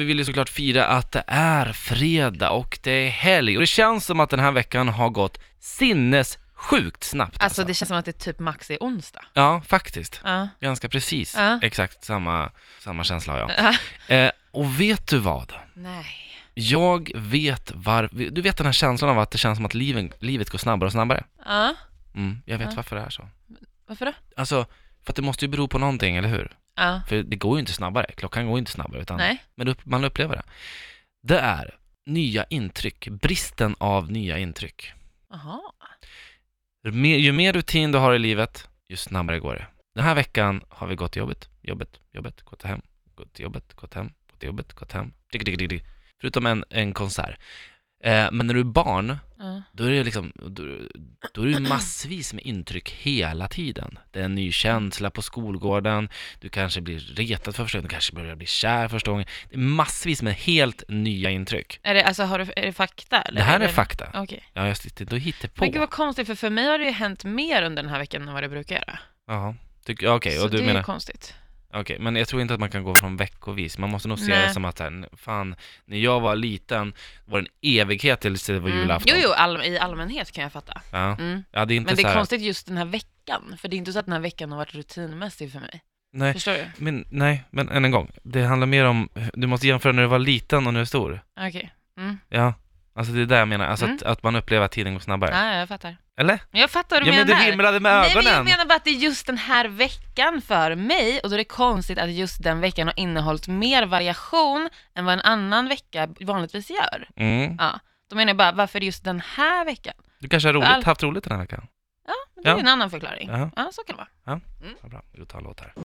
Vi vill ju såklart fira att det är fredag och det är helg och det känns som att den här veckan har gått sinnessjukt snabbt. Alltså det känns som att det typ max är onsdag. Ja, faktiskt. Ja. Ganska precis. Ja. Exakt samma, samma känsla har jag. Ja. Eh, och vet du vad? Nej. Jag vet var... Du vet den här känslan av att det känns som att liven, livet går snabbare och snabbare? Ja. Mm, jag vet Ja. varför det är så. Varför då? Alltså, för att det måste ju bero på någonting, eller hur? Ja. För det går ju inte snabbare, klockan går ju inte snabbare, utan Nej. men upp, man upplever det. Det är nya intryck, bristen av nya intryck. Jaha. Ju mer- Ju mer rutin du har i livet, ju snabbare går det. Den här veckan har vi gått till jobbet, jobbet, jobbet, gått hem, gått till jobbet, gått hem, gått till jobbet, gått hem. Tick, tick, tick, tick. Förutom en, en konsert. Eh, men när du är barn, Ja. då är det liksom, då, då är det ju massvis med intryck hela tiden. Det är en ny känsla på skolgården, du kanske blir retad för första gången, du kanske börjar bli kär första gången. Det är massvis med helt nya intryck. Är det, alltså, har du, är det fakta? Eller? Det här är Eller- fakta. Okej. Ja, jag sitter inte och hittar Men gud på. vad konstigt, för för mig har det ju hänt mer under den här veckan än vad det brukar göra. Ja, tycker- ja, okej, Så och det du är ju menar, konstigt. okej, men jag tror inte att man kan gå från veckovis. Man måste nog se Nej. det som att, så här, fan, när jag var liten var det en evighet tills det var julafton. Mm. Jo, jo, all, i allmänhet kan jag fatta. Ja. Mm. ja, det är inte Men det så är här, konstigt just den här veckan, för det är inte så att den här veckan har varit rutinmässig för mig. nej, Förstår du? men, nej, men än en gång, det handlar mer om, du måste jämföra när du var liten och nu är stor. Okej. Mm. Ja, alltså det är det jag menar, alltså Mm. att, att man upplever att tiden går snabbare. Ja, jag fattar. Eller? Men jag fattar vad du Ja men du menar. himlade med Nej, men jag ögonen! menar bara att det är just den här veckan för mig och då är det konstigt att just den veckan har innehållit mer variation än vad en annan vecka vanligtvis gör. mm. Ja. Då menar jag bara, varför är det just den här veckan? Du kanske har roligt, All- haft roligt den här veckan? Det är Ja. en annan förklaring. Ja. Ja, så kan det vara. Ja, bra, vi tar en låt här.